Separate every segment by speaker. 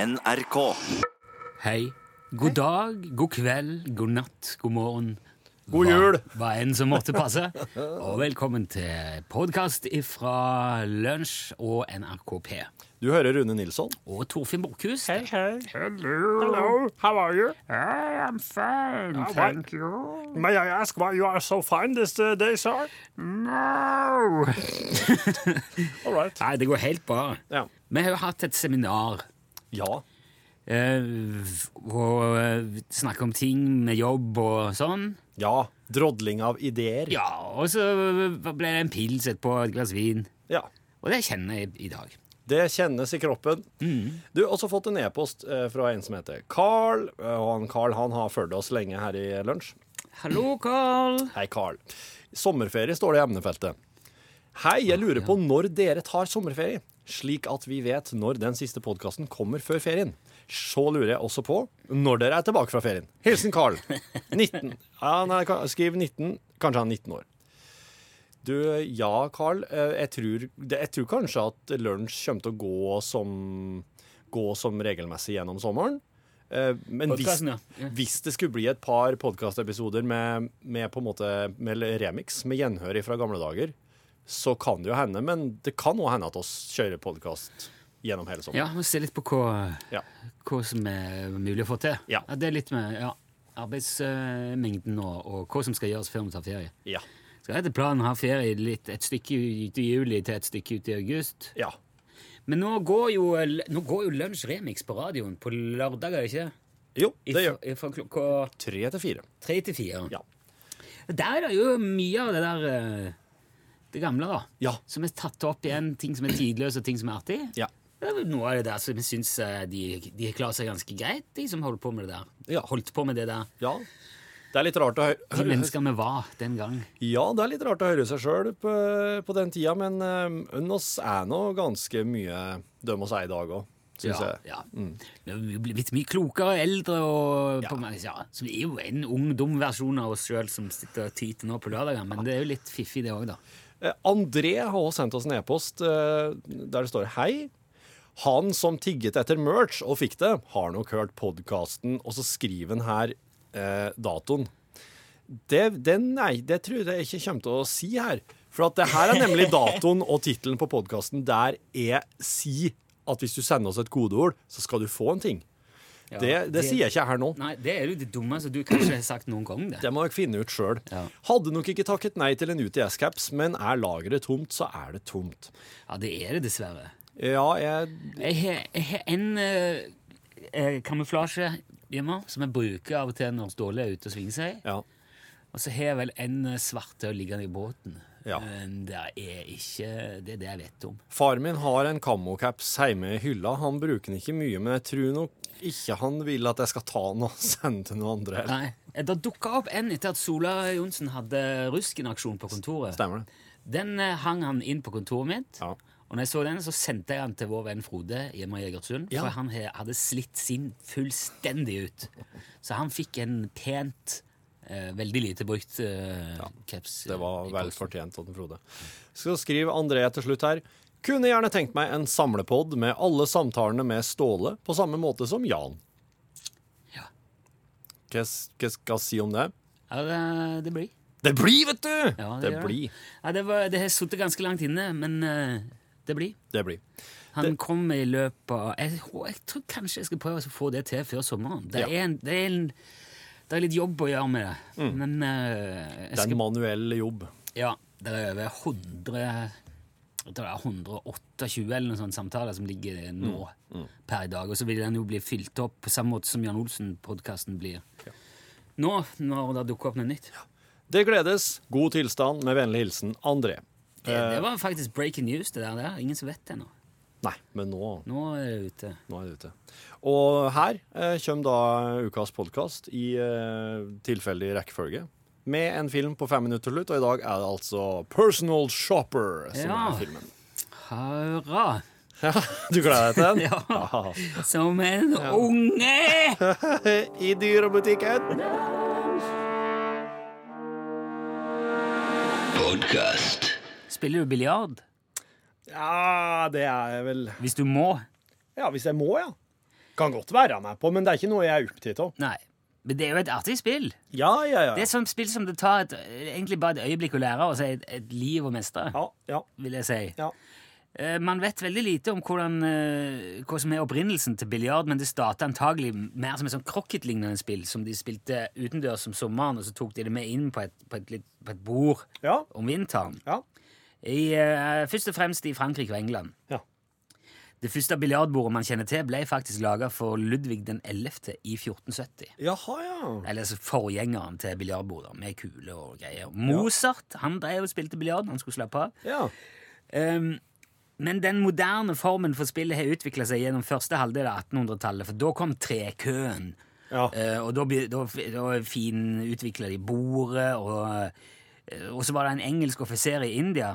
Speaker 1: NRK.
Speaker 2: Hei. God dag, god kveld, god natt, god morgen.
Speaker 3: God jul!
Speaker 2: Hva, hva enn som måtte passe. Og velkommen til podkast ifra Lunsj og NRK P.
Speaker 3: Du hører Rune Nilsson.
Speaker 2: Og Torfinn Borkhus.
Speaker 4: Hei, hei.
Speaker 2: Hello.
Speaker 4: Hello, how are you?
Speaker 2: I am fine,
Speaker 4: thank
Speaker 2: you.
Speaker 4: May I ask why you are so fine this uh, day, sir?
Speaker 2: No!
Speaker 4: All right.
Speaker 2: Nei, det går helt bra.
Speaker 3: Ja.
Speaker 2: Vi har jo hatt et seminar
Speaker 3: ja.
Speaker 2: eh, og eh, snakket om ting med jobb og sånn.
Speaker 3: Drodling av ideer.
Speaker 2: Ja, og så ble det en pils etterpå, et glass vin.
Speaker 3: Ja.
Speaker 2: Og det kjenner jeg i dag.
Speaker 3: Det kjennes i kroppen. Du har også fått en e-post eh, fra en som heter Carl. eh, Og han Carl han har fulgt oss lenge her i lunsj.
Speaker 2: Hallo, Carl.
Speaker 3: Hei, Carl. Sommerferie står det i emnefeltet. Hei, jeg lurer på når dere tar sommerferie, slik at vi vet når den siste podkasten kommer før ferien. Så lurer jeg også på når dere er tilbake fra ferien. Hilsen Carl. 19. Ja, nei, ka- skriv 19. Kanskje han er 19 år. Du, ja, Carl. eh, Jeg tror, det- jeg tror kanskje at lunsj kommer til å gå som, gå som regelmessig gjennom sommeren. Eh, Men hvis,
Speaker 2: Podcasten, ja.
Speaker 3: hvis det skulle bli et par podkastepisoder med, med på en måte med remix, med gjenhør fra gamle dager, så kan det jo hende. Men det kan òg hende at oss kjører podkast gjennom hele sommeren.
Speaker 2: Ja, vi må se litt på hva,
Speaker 3: Ja.
Speaker 2: hva som er mulig å få til.
Speaker 3: Ja.
Speaker 2: det er litt med ja, arbeidsmengden og, og hva som skal gjøres før vi tar ferie.
Speaker 3: Ja.
Speaker 2: Skal etter planen ha ferie litt, et stykke ut i juli til et stykke ut i august.
Speaker 3: ja.
Speaker 2: Men nå går jo, nå går jo Lunsj Remix på radioen på lørdager, ikke?
Speaker 3: Jo,
Speaker 2: I-
Speaker 3: det gjør
Speaker 2: Fra klokka
Speaker 3: Tre til fire.
Speaker 2: tre til fire.
Speaker 3: Ja.
Speaker 2: Der er det jo mye av det der eh, Det gamle, da.
Speaker 3: Ja.
Speaker 2: Som er tatt opp igjen. Ting som er tidløse, og ting som er artig.
Speaker 3: Ja.
Speaker 2: Det er vel noe av det der som jeg syns de, de klarer seg ganske greit, de som holder på med det der.
Speaker 3: Ja.
Speaker 2: Holdt på med det der.
Speaker 3: ja. Det er litt rart å hø-
Speaker 2: De
Speaker 3: høre
Speaker 2: menneskene vi var den gang.
Speaker 3: Ja, det er litt rart å høre seg sjøl på, på den tida, men eh, oss er nå ganske mye døm oss er i dag òg, syns
Speaker 2: ja,
Speaker 3: jeg. Mm.
Speaker 2: ja. Vi er blitt mye klokere, eldre og
Speaker 3: Ja.
Speaker 2: på, mange- ja, Så vi er jo en ung, dum versjon av oss sjøl som sitter og tyter nå på lørdager, men det er jo litt fiffig, det òg, da.
Speaker 3: Eh, André har også sendt oss en e-post eh, der det står Hei. Han som tigget etter merch og fikk det, har nok hørt podkasten, og så skriver han her eh, datoen. Det, det, nei, det tror jeg ikke kommer til å si her. For at det her er nemlig datoen og tittelen på podkasten der jeg sier at hvis du sender oss et kodeord, så skal du få en ting.
Speaker 2: Ja,
Speaker 3: det, det, sier jeg ikke her nå.
Speaker 2: Nei, det er jo det dummeste du kanskje har sagt noen gang, det.
Speaker 3: Det må dere finne ut sjøl.
Speaker 2: Ja.
Speaker 3: Hadde nok ikke takket nei til en UTS-caps, men er lageret tomt, så er det tomt.
Speaker 2: Ja, det er det dessverre.
Speaker 3: Ja, jeg
Speaker 2: Jeg har, jeg har en eh, eh, kamuflasje hjemme som jeg bruker av og til når Ståle er ute og svinger seg.
Speaker 3: Ja.
Speaker 2: Og så har jeg vel en eh, svart til å ligge i båten.
Speaker 3: Ja.
Speaker 2: Men det er ikke det er det jeg vet om.
Speaker 3: Far min har en kamocaps hjemme i hylla. Han bruker den ikke mye, men jeg tror nok ikke han vil at jeg skal ta den og sende til noen andre.
Speaker 2: Nei, eh, Da dukka opp en etter at Sola Johnsen hadde ruskenaksjon på kontoret.
Speaker 3: Stemmer det?
Speaker 2: Den eh, hang han inn på kontoret mitt.
Speaker 3: Ja.
Speaker 2: Og når jeg så den, så sendte jeg den til vår venn Frode hjemme i Egersund.
Speaker 3: Ja.
Speaker 2: For han he- hadde slitt sin fullstendig ut. Så han fikk en pent, eh, veldig lite brukt eh, caps. eh,
Speaker 3: Det var
Speaker 2: i
Speaker 3: vel
Speaker 2: posten.
Speaker 3: fortjent av den Frode. Så skriver André til slutt her. Kunne gjerne tenkt meg en samlepod med alle samtalene med Ståle, på samme måte som Jan.
Speaker 2: Ja.
Speaker 3: Hva s- hva skal jeg si om det?
Speaker 2: Ja, det, det blir.
Speaker 3: Det blir, vet du!
Speaker 2: Ja,
Speaker 3: det,
Speaker 2: gjør
Speaker 3: blir.
Speaker 2: Ja, det, var, det har sittet ganske langt inne, men eh, det blir.
Speaker 3: Det blir.
Speaker 2: Han kom i løpet av jeg, hå- jeg tror kanskje jeg skal prøve å få det til før sommeren. Det
Speaker 3: Ja.
Speaker 2: er, en, det er, en, det er litt jobb å gjøre med det.
Speaker 3: Mm.
Speaker 2: Men eh, jeg
Speaker 3: Det er
Speaker 2: skal
Speaker 3: en manuell jobb.
Speaker 2: Ja, det er over 100 jeg tror det er 128 eller noen sånne samtaler som ligger nå
Speaker 3: Mm.
Speaker 2: per dag. Og så vil den jo bli fylt opp på samme måte som Jan Olsen-podkasten blir. Nå, når det dukker opp noe nytt.
Speaker 3: Det gledes. God tilstand. Med vennlig hilsen André.
Speaker 2: Det, det var faktisk breaking news, det der. Det er ingen som vet det ennå.
Speaker 3: Nei, men nå
Speaker 2: Nå er det ute.
Speaker 3: Nå er det ute. Og her eh, kommer da ukas podkast i eh, tilfeldig rekkefølge. Med en film på fem minutter til slutt, og i dag er det altså 'Personal Shopper' som
Speaker 2: Ja.
Speaker 3: er filmen.
Speaker 2: Hurra!
Speaker 3: Du gleder deg til den?
Speaker 2: Ja.
Speaker 3: Ja.
Speaker 2: Som en unge!
Speaker 3: I dyrebutikken.
Speaker 2: Spiller du biljard?
Speaker 3: Ja, det er vel
Speaker 2: Hvis du må.
Speaker 3: Ja, hvis jeg må, ja. Kan godt være med på, men det er ikke noe jeg er opptatt av.
Speaker 2: Nei. Men det er jo et artig spill.
Speaker 3: Ja, ja, ja.
Speaker 2: Det er et sånt spill som det tar et, egentlig bare et øyeblikk å lære, og så er det et, et liv å mestre,
Speaker 3: ja, ja,
Speaker 2: vil jeg si.
Speaker 3: ja.
Speaker 2: Eh, Man vet veldig lite om hvordan, eh, hva som er opprinnelsen til biljard, men det startet antagelig mer som et sånn crocketlignende spill, som de spilte utendørs om sommeren, og så tok de det med inn på et, på et, litt- på et bord
Speaker 3: Ja,
Speaker 2: om vinteren.
Speaker 3: ja.
Speaker 2: I, eh, først og fremst i Frankrike og England.
Speaker 3: Ja.
Speaker 2: Det første biljardbordet man kjenner til, ble faktisk laga for Ludvig den 11. i 1470.
Speaker 3: Jaha, ja.
Speaker 2: Eller så forgjengeren til biljardbordet, med kule og greier. Mozart han drev og spilte biljard, han skulle slappe av.
Speaker 3: ja.
Speaker 2: Ehm, men den moderne formen for spillet har utvikla seg gjennom første halvdel av 1800-tallet, for da kom trekøen.
Speaker 3: Ja.
Speaker 2: Eh, og da, be- da, f- da finutvikla de bordet, og, eh, og så var det en engelsk offiser i India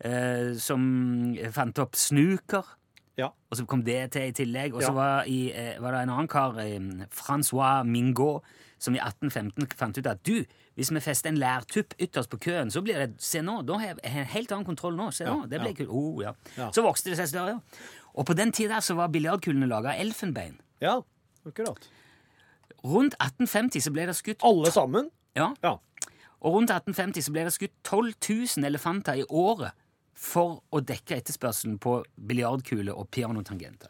Speaker 2: eh, som fant opp snooker.
Speaker 3: Ja.
Speaker 2: Og så kom det til i tillegg. Og så
Speaker 3: Ja.
Speaker 2: var, i, eh, var det en annen kar, eh, Francois Mingot, som i 1815 fant ut at du, hvis vi fester en lærtupp ytterst på køen, så blir det Se nå, da har jeg- jeg har en helt annen kontroll nå. Se nå, det ble kult. Oh, ja.
Speaker 3: Ja.
Speaker 2: Så vokste det seg større. Og på den tida så var biljardkulene laga av elfenbein.
Speaker 3: ja. Akkurat.
Speaker 2: Rundt 1850 så ble det skutt
Speaker 3: Alle sammen?
Speaker 2: ja,
Speaker 3: Ja.
Speaker 2: og rundt 1850 så ble det skutt 12 000 elefanter i året for å dekke etterspørselen på biljardkuler og pianotangenter.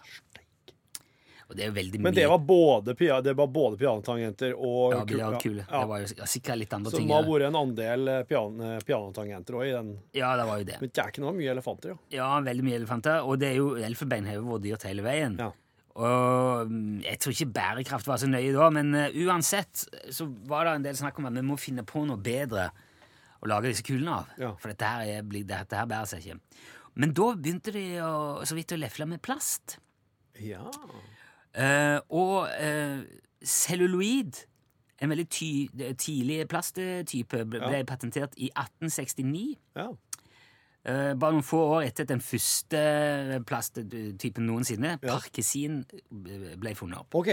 Speaker 2: Og det er jo veldig mye
Speaker 3: Men det var både, pia, det var både pianotangenter og
Speaker 2: ja,
Speaker 3: kul-
Speaker 2: biljardkuler.
Speaker 3: Ja.
Speaker 2: Det var jo sik- ja, sikkert litt andre
Speaker 3: Så det
Speaker 2: ting.
Speaker 3: må ha
Speaker 2: ja.
Speaker 3: vært en andel eh, pian, eh, pianotangenter òg i den.
Speaker 2: Ja, det var jo det.
Speaker 3: Men det er ikke noe mye elefanter, jo.
Speaker 2: Ja, veldig mye elefanter. Og det er jo elfenbein har jo vært dyrt hele veien.
Speaker 3: Ja.
Speaker 2: Og mm, jeg tror ikke bærekraft var så nøye da, men eh, uansett så var det en del snakk om at vi må finne på noe bedre å lage disse kulene av.
Speaker 3: Ja.
Speaker 2: For dette her, er, blir- dette her bærer seg ikke. Men da begynte de å, så vidt å lefle med plast.
Speaker 3: Ja.
Speaker 2: Eh, og eh, celluloid, en veldig ty, tidlig plasttype, ble, ble patentert i 1869.
Speaker 3: ja.
Speaker 2: Eh, bare noen få år etter at den første eh, plasttypen noensinne, parkesin, eh, ble funnet opp.
Speaker 3: OK.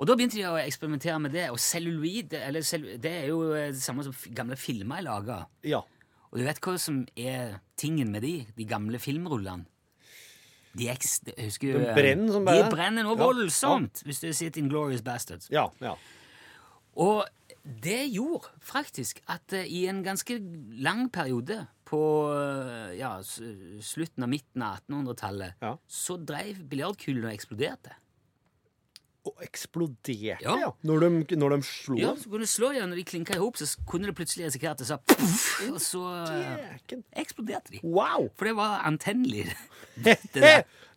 Speaker 2: Og da begynte de å eksperimentere med det, og celluloid eller cellu- det er jo eh, det samme som f- gamle filmer er laga.
Speaker 3: Ja.
Speaker 2: Og du vet hva som er tingen med de, de gamle filmrullene? De eks, de- husker du,
Speaker 3: De
Speaker 2: eh,
Speaker 3: brenner som
Speaker 2: De
Speaker 3: bare det.
Speaker 2: brenner noe
Speaker 3: Ja,
Speaker 2: voldsomt, hvis du har sett Inglorious Bastards.
Speaker 3: Ja. ja.
Speaker 2: Og det gjorde faktisk at eh, i en ganske lang periode på eh, ja, s- slutten av midten av 1800-tallet,
Speaker 3: Ja.
Speaker 2: så dreiv biljardkulene og eksploderte.
Speaker 3: Og eksploderte,
Speaker 2: Ja.
Speaker 3: ja. Når, de, når de slo
Speaker 2: Ja,
Speaker 3: dem.
Speaker 2: så kunne du slå dem, og når de klinka i hop, så s- kunne du plutselig risikere at det sa puff, og så eh,
Speaker 3: Jæken.
Speaker 2: eksploderte de.
Speaker 3: Wow!
Speaker 2: For det var antennelig. der.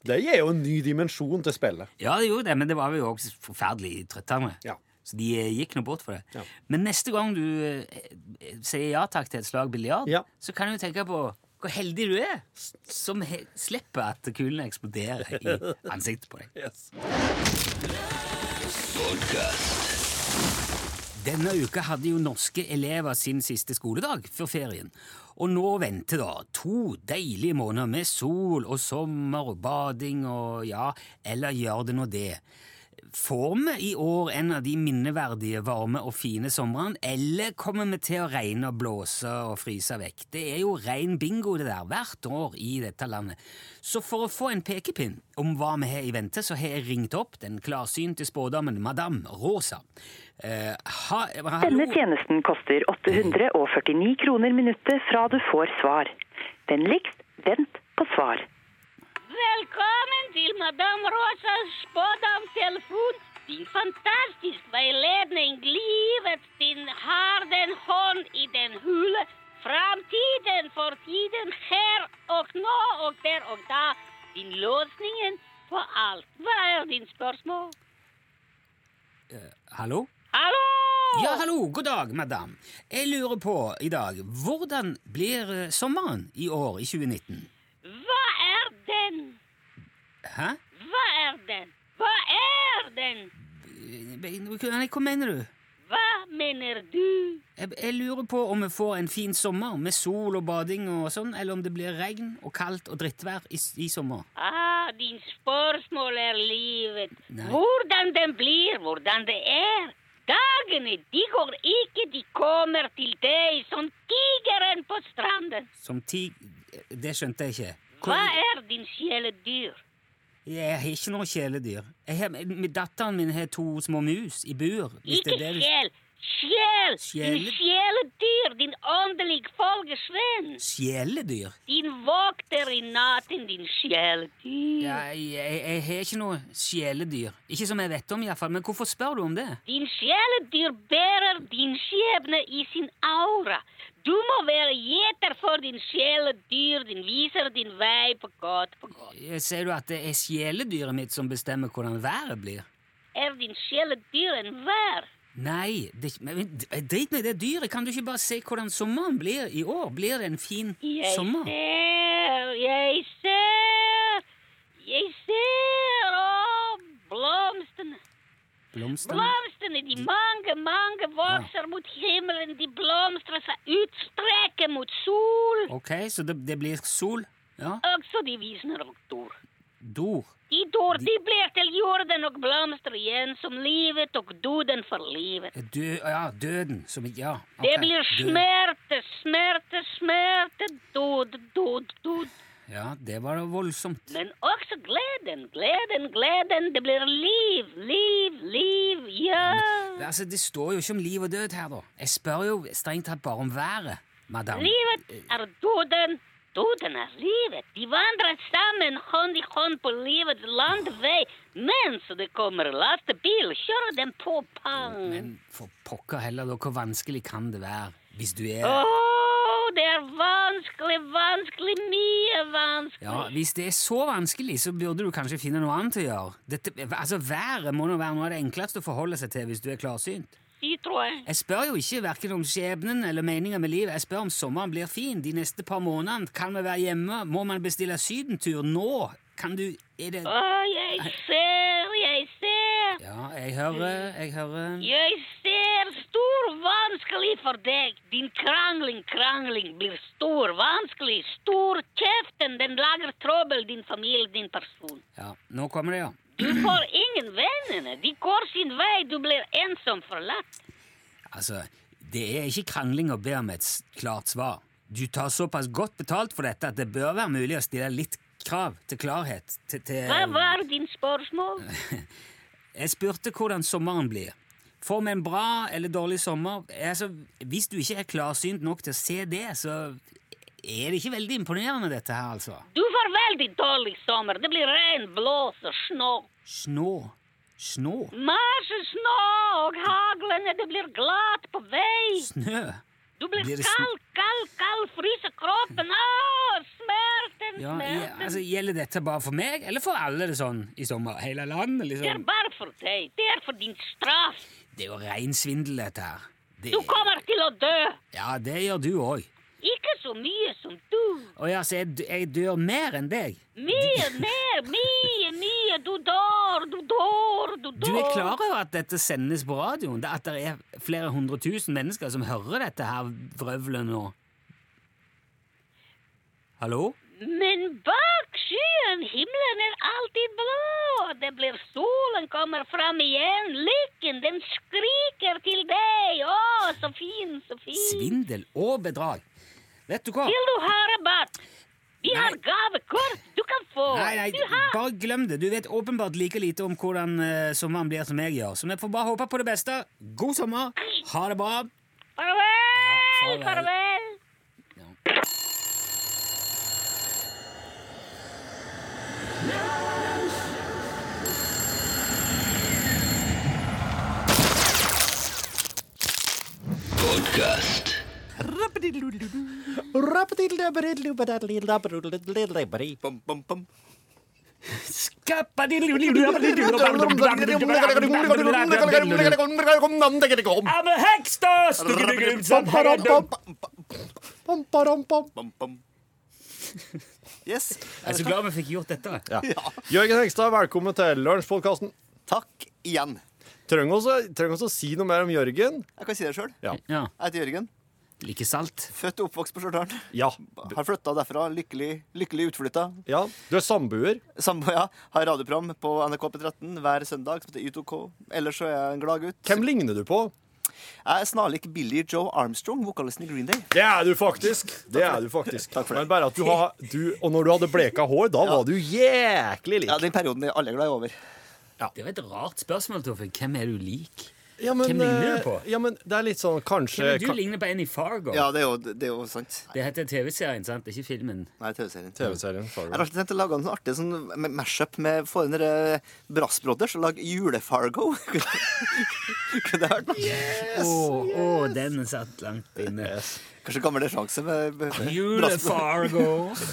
Speaker 3: det gir jo en ny dimensjon til spillet.
Speaker 2: Ja, det gjorde det, men det var jo også forferdelig trøttende.
Speaker 3: Ja.
Speaker 2: Så de eh, gikk nå bort for det.
Speaker 3: Ja.
Speaker 2: Men neste gang du eh, eh, sier ja takk til et slag biljard,
Speaker 3: Ja.
Speaker 2: så kan du tenke på hvor heldig du er som he slipper at kulene eksploderer i ansiktet på deg. Denne uka hadde jo norske elever sin siste skoledag før ferien. Og nå venter da to deilige måneder med sol og sommer og bading og ja, eller gjør det nå det. Får vi i år en av de minneverdige, varme og fine somrene, eller kommer vi til å regne og blåse og fryse vekk? Det er jo rein bingo det der, hvert år i dette landet. Så for å få en pekepinn om hva vi har i vente, så har jeg ringt opp den klarsynte spådamen Madame Rosa. Eh, ha,
Speaker 1: Denne
Speaker 2: hallo.
Speaker 1: tjenesten koster 849 kroner minuttet fra du får svar. Vennligst vent på svar.
Speaker 5: Velkommen til Madame Rosas spådomstelefon. Din fantastisk veiledning livet din har den hånd i den hule. Framtiden for tiden her og nå og der og da. Din løsningen på alt. Hva er din spørsmål?
Speaker 2: hallo?
Speaker 5: Hallo!
Speaker 2: Ja, hallo, god dag, madame. Jeg lurer på i dag, hvordan blir eh, sommeren i år, i 2019?
Speaker 5: Hva er den?
Speaker 2: Hæ?
Speaker 5: Hva er den? Hva er den?
Speaker 2: Eh, Nei, Hva mener du?
Speaker 5: Hva mener du?
Speaker 2: Jeg, jeg lurer på om vi får en fin sommer med sol og bading og sånn, eller om det blir regn og kaldt og drittvær i, s- i sommer.
Speaker 5: Ah, din spørsmål er livet.
Speaker 2: Nei.
Speaker 5: Hvordan den blir, hvordan det er. Dagene, de går ikke, de kommer til deg som tigeren på stranden.
Speaker 2: Som ti... Det skjønte jeg ikke.
Speaker 5: Hva
Speaker 2: Hvor-
Speaker 5: er din sjeledyr?
Speaker 2: Jeg har ikke noe kjæledyr. Jeg har, med datteren min har to små mus i bur. hvis
Speaker 5: Ikke
Speaker 2: det er det du-
Speaker 5: sjel. Sjel! Din
Speaker 2: Sjel?
Speaker 5: sjeledyr, din åndelige følgesvenn.
Speaker 2: Kjæledyr?
Speaker 5: Din vokter i natten, din sjeledyr.
Speaker 2: Ja, jeg, jeg, jeg har ikke noe kjæledyr. Ikke som jeg vet om, iallfall. Men hvorfor spør du om det?
Speaker 5: Din sjeledyr bærer din skjebne i sin aura. Du må være gjeter for din sjeledyr, din viser din vei på godt, på godt.
Speaker 2: Jeg- Sier du at det er kjæledyret mitt som bestemmer hvordan været blir?
Speaker 5: Er din sjeledyr en vær?
Speaker 2: Nei, det, er ikke- men, men, drit nå i det dyret. Kan du ikke bare se hvordan sommeren blir i år? Blir det en fin
Speaker 5: Jeg
Speaker 2: sommer?
Speaker 5: ser, jeg ser, jeg ser, å, blomstene.
Speaker 2: Blomstene?
Speaker 5: Blomstene, de mange, mange vokser mot himmelen, de blomstrer seg ut, strekker mot sol,
Speaker 2: Ok, så det, det blir sol? Ja.
Speaker 5: også de visner og dor.
Speaker 2: Dor.
Speaker 5: De dor, de blir til jorden og blomstrer igjen som livet og døden for livet.
Speaker 2: Eh, Dø, ja, døden. Som, ja, ok.
Speaker 5: Det blir
Speaker 2: Død.
Speaker 5: smerte, smerte, smerte, død, død, død.
Speaker 2: Ja, det var da voldsomt.
Speaker 5: Men også gleden, gleden, gleden, det blir liv, liv, liv, ja.
Speaker 2: Altså, Det står jo ikke om liv og død her, da. Jeg spør jo strengt tatt bare om været, madame.
Speaker 5: Livet er døden, døden er livet. De vandrer sammen hånd i hånd på livets landvei mens det kommer lastebil, kjører dem på pang.
Speaker 2: Men for pokker heller, da, hvor vanskelig kan det være hvis du er
Speaker 5: Åh, det er vanskelig, vanskelig, mye vanskelig.
Speaker 2: Ja, Hvis det er så vanskelig, så burde du kanskje finne noe annet å gjøre. Dette, altså, Været må nå være noe av det enkleste å forholde seg til hvis du er klarsynt.
Speaker 5: Si, tror jeg.
Speaker 2: Jeg spør jo ikke hverken om skjebnen eller meninga med livet. Jeg spør om sommeren blir fin de neste par månedene. Kan vi være hjemme? Må man bestille sydentur nå? Kan du Er det
Speaker 5: Åh, jeg ser, jeg ser.
Speaker 2: Ja, jeg hører, jeg hører
Speaker 5: Jeg ser stor vanskelig for deg. Din krangling, krangling blir stor vanskelig. Stor kjeften, den lager trøbbel, din familie, din person.
Speaker 2: Ja, nå kommer det, ja.
Speaker 5: Du får ingen vennene. De går sin vei, du blir ensom forlatt.
Speaker 2: Altså, det er ikke krangling å be om et s- klart svar. Du tar såpass godt betalt for dette at det bør være mulig å stille litt krav til klarhet. Til, til...
Speaker 5: Hva var din spørsmål?
Speaker 2: Jeg spurte hvordan sommeren blir. Får vi en bra eller dårlig sommer? Altså, hvis du ikke er klarsynt nok til å se det, så er det ikke veldig imponerende, dette her, altså.
Speaker 5: Du får veldig dårlig sommer. Det blir regn, blås og snø.
Speaker 2: Snå. Snå.
Speaker 5: Masse snø og haglene, det blir glatt på vei.
Speaker 2: Snø.
Speaker 5: Du blir
Speaker 2: Blir det sn-
Speaker 5: kald, kald, kald, fryser kroppen. Å, smerten,
Speaker 2: Ja, i,
Speaker 5: smerten.
Speaker 2: altså, gjelder dette bare for meg, eller for alle det sånn i sommer? Hele landet,
Speaker 5: Det er
Speaker 2: liksom?
Speaker 5: bare for deg. Det er for din straff.
Speaker 2: Det er jo rein svindel, dette her. Det,
Speaker 5: Du kommer til å dø.
Speaker 2: ja, det gjør du òg.
Speaker 5: Ikke så mye som du.
Speaker 2: Å ja, så jeg, d- jeg dør mer enn deg?
Speaker 5: Mye mer, mye, mye. Du dør, du dør, du dør.
Speaker 2: Du er klar over at dette sendes på radioen? Det- At det er flere hundre tusen mennesker som hører dette her vrøvlet nå? Hallo?
Speaker 5: Men bak skyen, himmelen er alltid blå. Det blir solen kommer fram igjen. Lykken, den skriker til deg. Å, så fin, så fin.
Speaker 2: Svindel og bedrag. Vet du hva?
Speaker 5: Vil du ha rabatt? Vi
Speaker 2: Nei.
Speaker 5: har gavekort du kan få.
Speaker 2: Nei, nei,
Speaker 5: Du har
Speaker 2: bare glem det. Du vet åpenbart like lite om hvordan eh, sommeren blir som jeg gjør, så vi får bare håpe på det beste. God sommer! Ha det bra!
Speaker 5: Farvel,
Speaker 2: Ja, farvel.
Speaker 5: farvel.
Speaker 2: I'm a hekster!
Speaker 6: Yes.
Speaker 2: Jeg er så glad vi fikk gjort dette.
Speaker 3: Ja. Jørgen Hengstad, velkommen til Lunsjpodkasten.
Speaker 6: Takk igjen.
Speaker 3: Trenger vi å si noe mer om Jørgen?
Speaker 6: Jeg kan si det sjøl.
Speaker 3: Ja.
Speaker 2: Ja,
Speaker 6: Jeg heter Jørgen.
Speaker 2: Like salt.
Speaker 6: Født og oppvokst på Stjørdal.
Speaker 3: Ja.
Speaker 6: Har flytta derfra. Lykkelig, lykkelig utflytta.
Speaker 3: ja. Du er samboer.
Speaker 6: Samboer har radioprogram på NRK P13 hver søndag som heter Y2K. Ellers så er jeg en glad gutt.
Speaker 3: Hvem ligner du på?
Speaker 6: Jeg er snarlik Billy Joe Armstrong, vokalisten i Green Day.
Speaker 3: Det er du faktisk. Det er du faktisk. Men bare at du har du, Og når du hadde bleka hår, da var du jæklig
Speaker 6: Ja,
Speaker 3: lik.
Speaker 6: Den perioden er alle glad i over.
Speaker 2: Det var et rart spørsmål, Torfinn. Hvem er du lik?
Speaker 3: Ja, men,
Speaker 2: Hvem ligner
Speaker 3: eh,
Speaker 2: du på?
Speaker 3: Ja, men det er litt sånn
Speaker 2: Hvem
Speaker 3: kanskje
Speaker 2: er du ligner på en i Fargo?
Speaker 6: Eh, Ja, det er jo, det er jo sant.
Speaker 2: Det heter TV-serien, sant? Ikke filmen.
Speaker 6: Nei, TV-serien.
Speaker 3: TV-serien
Speaker 6: Jeg har
Speaker 3: Fargo.
Speaker 6: alltid tenkt å lage en sånn artig sånn m- mashup med få inn dere eh, Brass Brothers og lage Jule-Fargo. Kunne det vært noe?
Speaker 2: Å, å, den satt langt inne.
Speaker 6: Kanskje gammel sjanse med med- med Brass Brothers.
Speaker 2: Jule-Fargo.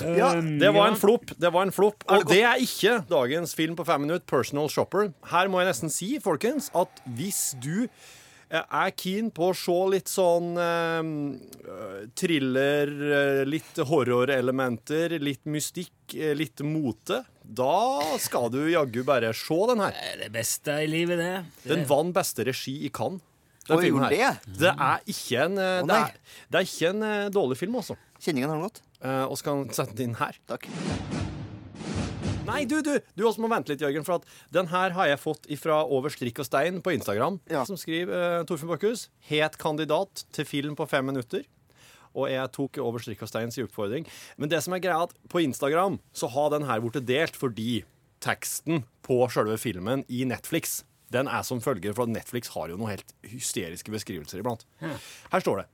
Speaker 6: Ja,
Speaker 3: Det var en flopp. Det var en flopp. Og det er ikke dagens film på fem minutter, 'Personal Shopper'. Her må jeg nesten si, folkens, at hvis du eh, er keen på å se litt sånn eh, thriller, eh, litt horrorelementer, litt mystikk, eh, litt mote, da skal du jaggu bare se den her.
Speaker 2: Det er det beste i livet, Eh, det.
Speaker 3: Den vant beste regi i Cannes. Den
Speaker 6: Oi,
Speaker 3: filmen
Speaker 6: gjorde
Speaker 3: her. Det er ikke en, eh, det
Speaker 6: nei.
Speaker 3: er, det er ikke en eh, dårlig film, altså.
Speaker 6: Kjenningen har den gått?
Speaker 3: Eh, Og skal han sette den inn her?
Speaker 6: Takk.
Speaker 3: Nei, du, du! Du også må vente litt, Jørgen, for at den her har jeg fått ifra Over strikk og stein på Instagram,
Speaker 6: Ja.
Speaker 3: som skriver uh, Torfinn Bakkhus, het kandidat til film på fem minutter. Og jeg tok Over strikk og steins oppfordring. Men det som er greia, er at på Instagram så har den her blitt delt fordi teksten på sjølve filmen i Netflix den er som følger, for at Netflix har jo noen helt hysteriske beskrivelser iblant. Her står det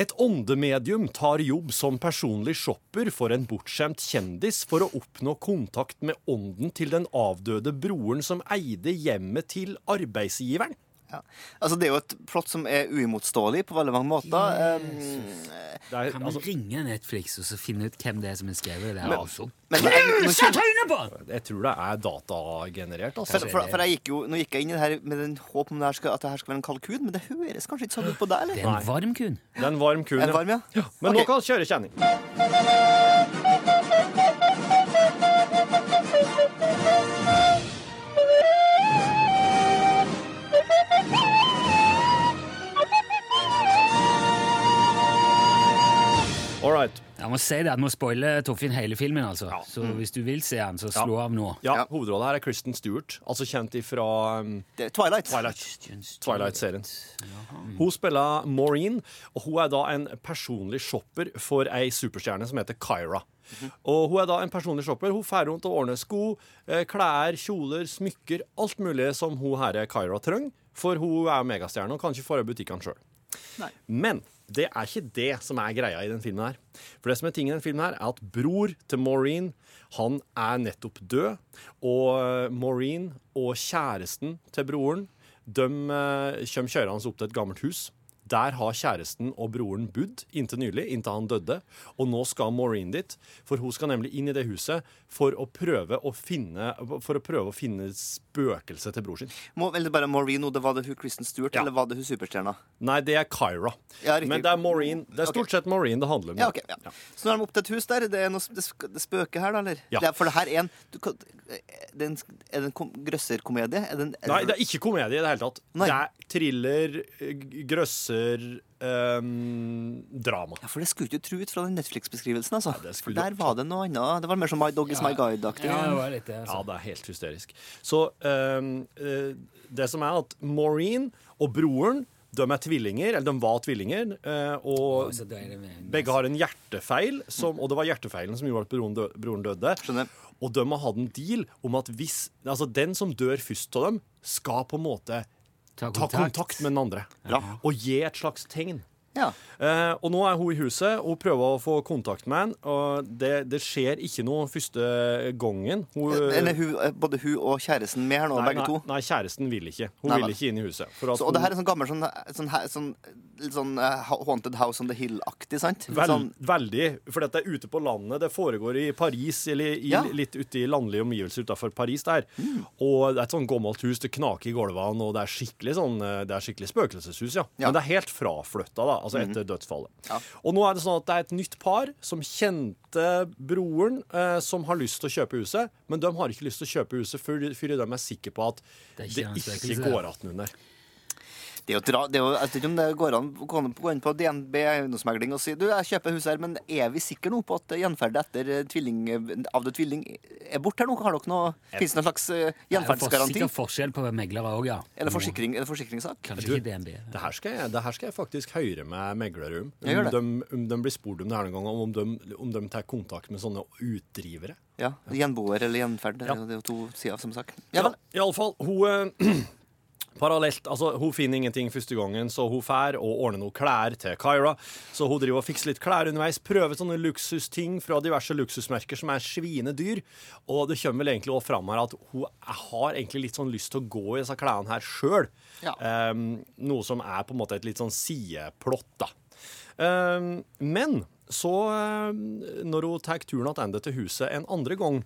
Speaker 3: et åndemedium tar jobb som personlig shopper for en bortskjemt kjendis for å oppnå kontakt med ånden til den avdøde broren som eide hjemmet til arbeidsgiveren.
Speaker 6: Ja. Altså, det er jo et plott som er uimotståelig på veldig mange måter. Um,
Speaker 3: Det er,
Speaker 2: Kan man
Speaker 3: altså,
Speaker 2: ringe Netflix og så finne ut hvem det er som har skrevet det? Altså.
Speaker 6: men det er, nå
Speaker 2: Sett
Speaker 6: kjenner-
Speaker 2: øynene på den!
Speaker 3: jeg tror det er datagenerert.
Speaker 6: for,
Speaker 3: Altså.
Speaker 6: for, for jeg gikk jo, nå gikk jeg inn i det her med den håp om det her skal, at det her skal være en kalkun, men det høres kanskje ikke sånn ut på deg,
Speaker 2: Det
Speaker 6: eller?
Speaker 2: er en varm kun.
Speaker 3: Det er en varm kun.
Speaker 6: Er den varm, ja?
Speaker 3: Men
Speaker 6: Ok.
Speaker 3: nå kan vi kjøre kjenning. All right.
Speaker 2: Jeg må si det, at nå spoiler Torfinn hele filmen, altså. Så hvis du vil se den, så slå av nå.
Speaker 3: Ja,
Speaker 6: Ja.
Speaker 3: Hovedrollen her er Kristen Stewart, altså kjent ifra um,
Speaker 6: Det er Twilight.
Speaker 3: Twilight-serien. Hun spiller Maureen, og hun er da en personlig shopper for ei superstjerne som heter Kyra. Og Hun er da en personlig shopper. Hun drar rundt og ordner sko, eh, klær, kjoler, smykker, alt mulig som hun herre Kyra trenger, for hun er megastjerne og kan ikke dra butikkene sjøl. Men det er ikke det som er greia i den filmen her. For det som er tingen i den filmen her, er at bror til Maureen, han er nettopp død. Og eh, Maureen og kjæresten til broren, de eh, kommer kjørende opp til et gammelt hus. Der har kjæresten og broren bodd inntil nylig, inntil han døde. Og nå skal Maureen dit, for hun skal nemlig inn i det huset for å prøve å finne, for å prøve å finne spøkelset til bror sin.
Speaker 6: Må, eller bare Maureen, nå, det var det hun Kristen Stewart,
Speaker 3: Ja.
Speaker 6: eller var det hun superstjerna?
Speaker 3: Nei, det er Kyra.
Speaker 6: Ja, riktig.
Speaker 3: Men det er Maureen. Det er stort sett Maureen det handler om.
Speaker 6: Ja, ok. Ja. Så nå er de opp til et hus der. Det er noe det sk- det spøker her, da, eller?
Speaker 3: Ja.
Speaker 6: Det er, for det her er en du, kan- Er det en, er det en kom- grøsserkomedie? Er det en, er
Speaker 3: Nei, det er ikke komedie i det hele tatt.
Speaker 6: Nei.
Speaker 3: Det er thriller, g- grøsser, ehm, drama.
Speaker 6: ja, for det skulle du ikke tro ut fra den Netflix-beskrivelsen, altså.
Speaker 3: det
Speaker 6: for
Speaker 3: skulle
Speaker 6: der var det noe annet. Det var mer som My Dog Is My Guide-aktig.
Speaker 2: Ja, det var litt det, altså.
Speaker 3: Ja, det er helt hysterisk. Så ehm, eh, det som er at Maureen og broren, de er tvillinger, eller de var tvillinger, eh, og
Speaker 2: Så altså. da er det med-
Speaker 3: begge har en hjertefeil, som, og det var hjertefeilen som gjorde at broren, dø, broren døde.
Speaker 6: Skjønner.
Speaker 3: Og de har hatt en deal om at hvis, altså den som dør først av dem, skal på en måte
Speaker 2: Ta
Speaker 3: ta
Speaker 2: kontakt.
Speaker 3: kontakt med den andre.
Speaker 6: Bra.
Speaker 3: Og gi et slags tegn.
Speaker 6: Ja.
Speaker 3: Eh, og nå er hun i huset og prøver å få kontakt med han. Og det, det skjer ikke noe første gangen. Hun,
Speaker 6: Eller hun, eh, både hun og kjæresten med her nå,
Speaker 3: nei,
Speaker 6: begge
Speaker 3: nei,
Speaker 6: to.
Speaker 3: Nei, kjæresten vil ikke. Hun
Speaker 6: Nei,
Speaker 3: vil
Speaker 6: vel.
Speaker 3: ikke inn i huset. For at
Speaker 6: Så, og det
Speaker 3: hun-
Speaker 6: her er sånn gammel sånn, sånn, her- sånn, litt sånn eh, Haunted House on the Hill-aktig, sant? Litt
Speaker 3: Vel,
Speaker 6: sånn,
Speaker 3: Veldig. For dette er ute på landet. Det foregår i Paris, eller i,
Speaker 6: Ja.
Speaker 3: litt ute i landlige omgivelser utafor Paris der. Og det er et sånn gammelt hus, det knaker i gulvene, og det er skikkelig sånn eh, Det er skikkelig spøkelseshus, ja.
Speaker 6: Ja.
Speaker 3: Men det er helt fraflytta, da, altså etter dødsfallet.
Speaker 6: Ja.
Speaker 3: Og nå er det sånn at det er et nytt par som kjente broren, eh, som har lyst til å kjøpe huset, men de har ikke lyst til å kjøpe huset før, før de er sikre på at
Speaker 2: Det er
Speaker 3: det
Speaker 2: ikke
Speaker 3: ikke,
Speaker 2: noen spøkelse
Speaker 3: går attenunder.
Speaker 6: Det er jo dra, det er jo, jeg vet ikke om det går an å gå gå inn på DNB eiendomsmegling og si du, jeg kjøper huset her, men er vi sikre nå på at gjenferdet etter eh, tvilling, eh, avdød tvilling er borte her nå? Har dere noe, Fins det noen slags eh,
Speaker 2: Det er jo for-
Speaker 6: gjenferdsgaranti?
Speaker 2: sikkert forskjell på meglere òg, ja. Mm.
Speaker 6: Eller forsikring, eller forsikringssak?
Speaker 2: Kanskje ikke DNB.
Speaker 3: Det her skal jeg, det her skal jeg faktisk høre med meglere om.
Speaker 6: Ja, gjør
Speaker 3: Om
Speaker 6: det.
Speaker 3: de, om de blir spurt om det her noen gang, og om de, om de tar kontakt med sånne utdrivere.
Speaker 6: Ja, Gjenboer eller gjenferd. eh,
Speaker 3: Ja.
Speaker 6: Det er jo to sider av samme sak. Ja
Speaker 3: Ja,
Speaker 6: vel.
Speaker 3: iallfall. Hun eh, Parallelt, altså Hun finner ingenting første gangen, så hun fær og ordner noe klær til Kyra. Så hun driver og fikser litt klær underveis, prøver sånne luksusting fra diverse luksusmerker som er sviende dyr. Og det kommer vel egentlig også fram her at hun har egentlig litt sånn lyst til å gå i disse klærne her sjøl.
Speaker 6: Ja.
Speaker 3: noe som er på en måte et litt sånn sideplott, da. Ehm, men så, ehm, når hun tar turen tilbake til huset en andre gang,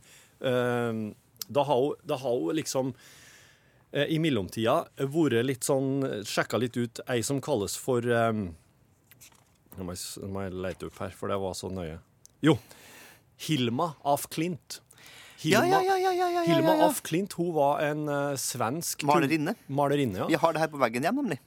Speaker 3: ehm, da har hun, da har hun liksom eh, i mellomtida eh, vært litt sånn Sjekka litt ut ei som kalles for ehm, Nå må jeg, s- nå må jeg lete opp her, for det var så nøye. Jo. Hilma af Klint.
Speaker 6: Ja,
Speaker 3: Hilma,
Speaker 6: ja, ja, ja, ja, ja, ja,
Speaker 3: Hilma
Speaker 6: ja, ja.
Speaker 3: af Klint hun var en eh, svensk kun-
Speaker 6: Malerinne.
Speaker 3: Malerinne ja.
Speaker 6: Vi har det her på veggen hjem, nemlig.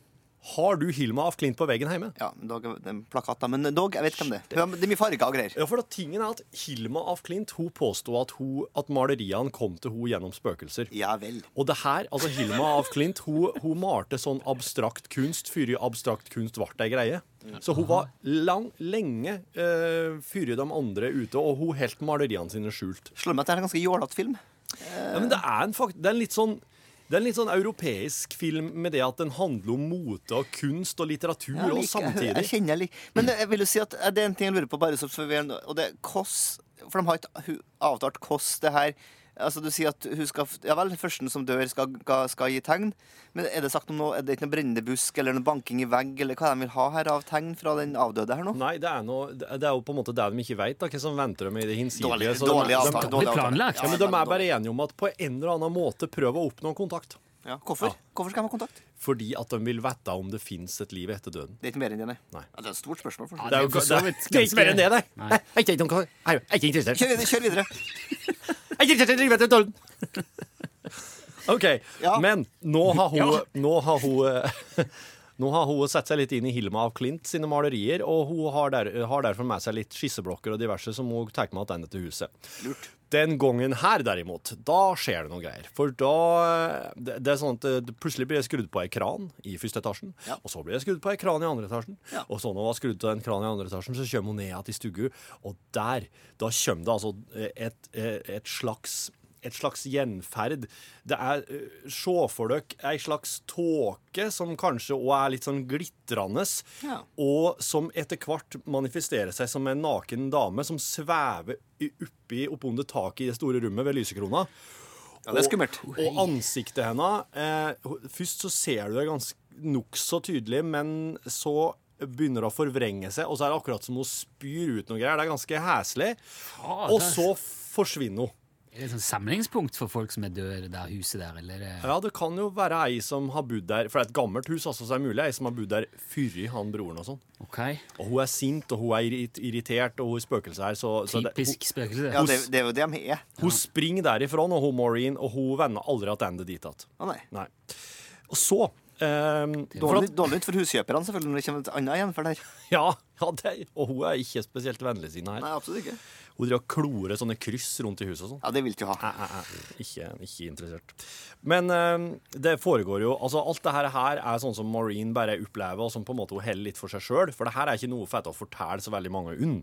Speaker 3: Har du Hilma af Klint på veggen hjemme?
Speaker 6: Ja, men dog, det er en plakat, da. Men dog, jeg vet hvem det er. Det er mye farger og greier.
Speaker 3: Ja, for da, tingen er at Hilma af Klint hun påstod at, hun, at maleriene kom til hun gjennom spøkelser.
Speaker 6: Ja vel.
Speaker 3: Og det her, altså Hilma af Klint, hun, hun malte sånn abstrakt kunst før abstrakt kunst ble ei greie. Så hun var lang, lenge eh, før de andre ute, og hun holdt maleriene sine skjult.
Speaker 6: Slår meg at det er en ganske jålete film.
Speaker 3: Ja, men det er en, fakt, det er en litt sånn det er en litt sånn europeisk film med det at den handler om mote og kunst og litteratur.
Speaker 6: Jeg
Speaker 3: og
Speaker 6: liker- Jeg,
Speaker 3: samtidig
Speaker 6: jeg kjenner jeg liker Men jeg vil jo si at eh, det er en ting jeg lurer på, bare så for vi er nå- Og det er hvordan For de har ikke hu- avtalt hvordan det her Altså, du sier at hun skal f- Ja vel, førsten som dør, skal, ga- skal gi tegn. Men er det sagt om noe Er det ikke noe brennende busk eller noe banking i vegg, eller hva de vil ha her av tegn fra den avdøde her nå?
Speaker 3: Nei, det er, noe, det er jo på en måte det de ikke veit, hva som venter dem i det hinsidige.
Speaker 6: Dårlig,
Speaker 3: så altså- de-
Speaker 6: dårlig
Speaker 3: de-
Speaker 6: avtale.
Speaker 2: dårlig
Speaker 6: dårlig avtale.
Speaker 2: planlagt.
Speaker 3: Ja, men De er bare enige om at på en eller annen måte prøve å oppnå kontakt.
Speaker 6: ja. Hvorfor? Hvorfor skal de ha kontakt?
Speaker 3: Fordi at de vil vite om det fins et liv etter døden.
Speaker 6: Det er ikke mer enn det, nei.
Speaker 3: Nei.
Speaker 6: Ja, det er et stort spørsmål. For
Speaker 2: Ja, det er jo for så vidt
Speaker 3: det er ikke mer enn det, nei.
Speaker 2: Nei.
Speaker 3: Nei, Jeg er ikke noe- jeg er ikke interessert.
Speaker 6: Kjør videre. Kjør videre.
Speaker 3: Jeg er ikke interessert i livet etter døden. OK,
Speaker 6: Ja.
Speaker 3: men nå har hun, nå har hun eh, Nå har hun satt seg litt inn i Hilma av Klint sine malerier, og hun har, der, har derfor med seg litt skisseblokker og diverse som hun tar med tilbake til huset.
Speaker 6: Lurt.
Speaker 3: Den gangen her, derimot, da skjer det noen greier. For da Det det er sånn at det- plutselig blir det skrudd på ei kran i første etasjen,
Speaker 6: Ja.
Speaker 3: og så blir det skrudd på ei kran i andre etasjen.
Speaker 6: Ja.
Speaker 3: Og så når hun har skrudd til en kran i andre etasjen, så kommer hun ned igjen til stuggu, og der, da kommer det altså et, eh, et slags et slags gjenferd. Det er eh, Se for dere ei slags tåke som kanskje òg er litt sånn glitrende,
Speaker 6: Ja.
Speaker 3: og som etter hvert manifesterer seg som en naken dame som svever i- oppi oppunder taket i det store rommet ved lysekrona.
Speaker 6: Ja, det er skummelt.
Speaker 3: Og, og ansiktet henne eh, ho- Først så ser du det ganske nokså tydelig, men så begynner det å forvrenge seg, og så er det akkurat som hun spyr ut noe greier. Det er ganske heslig. Og så forsvinner hun.
Speaker 2: Er det et sånt samlingspunkt for folk som er døde i det der huset der, eller? er det-
Speaker 3: Ja, det kan jo være ei som har bodd der For det er et gammelt hus, altså, så er det mulig ei som har bodd der før han broren og sånn.
Speaker 2: Ok.
Speaker 3: Og hun er sint, og hun er irrit- irritert, og hun er spøkelse her, så, så det,
Speaker 2: Typisk spøkelse.
Speaker 6: Ja, det, det er jo det de er.
Speaker 3: hun, hun springer derifra, og hun Maureen, og hun vender aldri tilbake dit igjen.
Speaker 6: Å nei.
Speaker 3: Nei. Og så ehm, for
Speaker 6: Dårlig,
Speaker 3: at,
Speaker 6: dårlig ut for huskjøperne, selvfølgelig, når det kommer et annet igjen for det her.
Speaker 3: ja, ja det, og hun er ikke spesielt vennligsinna her.
Speaker 6: Nei, absolutt ikke.
Speaker 3: Hun driver og klorer sånne kryss rundt i huset og sånn.
Speaker 6: Ja, det vil du ikke ha.
Speaker 3: Æ, æ, æ. Ikke, ikke interessert. Men eh, det foregår jo altså Alt det her, her er sånn som Maureen bare opplever, og som på en måte hun holder litt for seg sjøl. For det her er ikke noe fett å fortelle så veldig mange unn.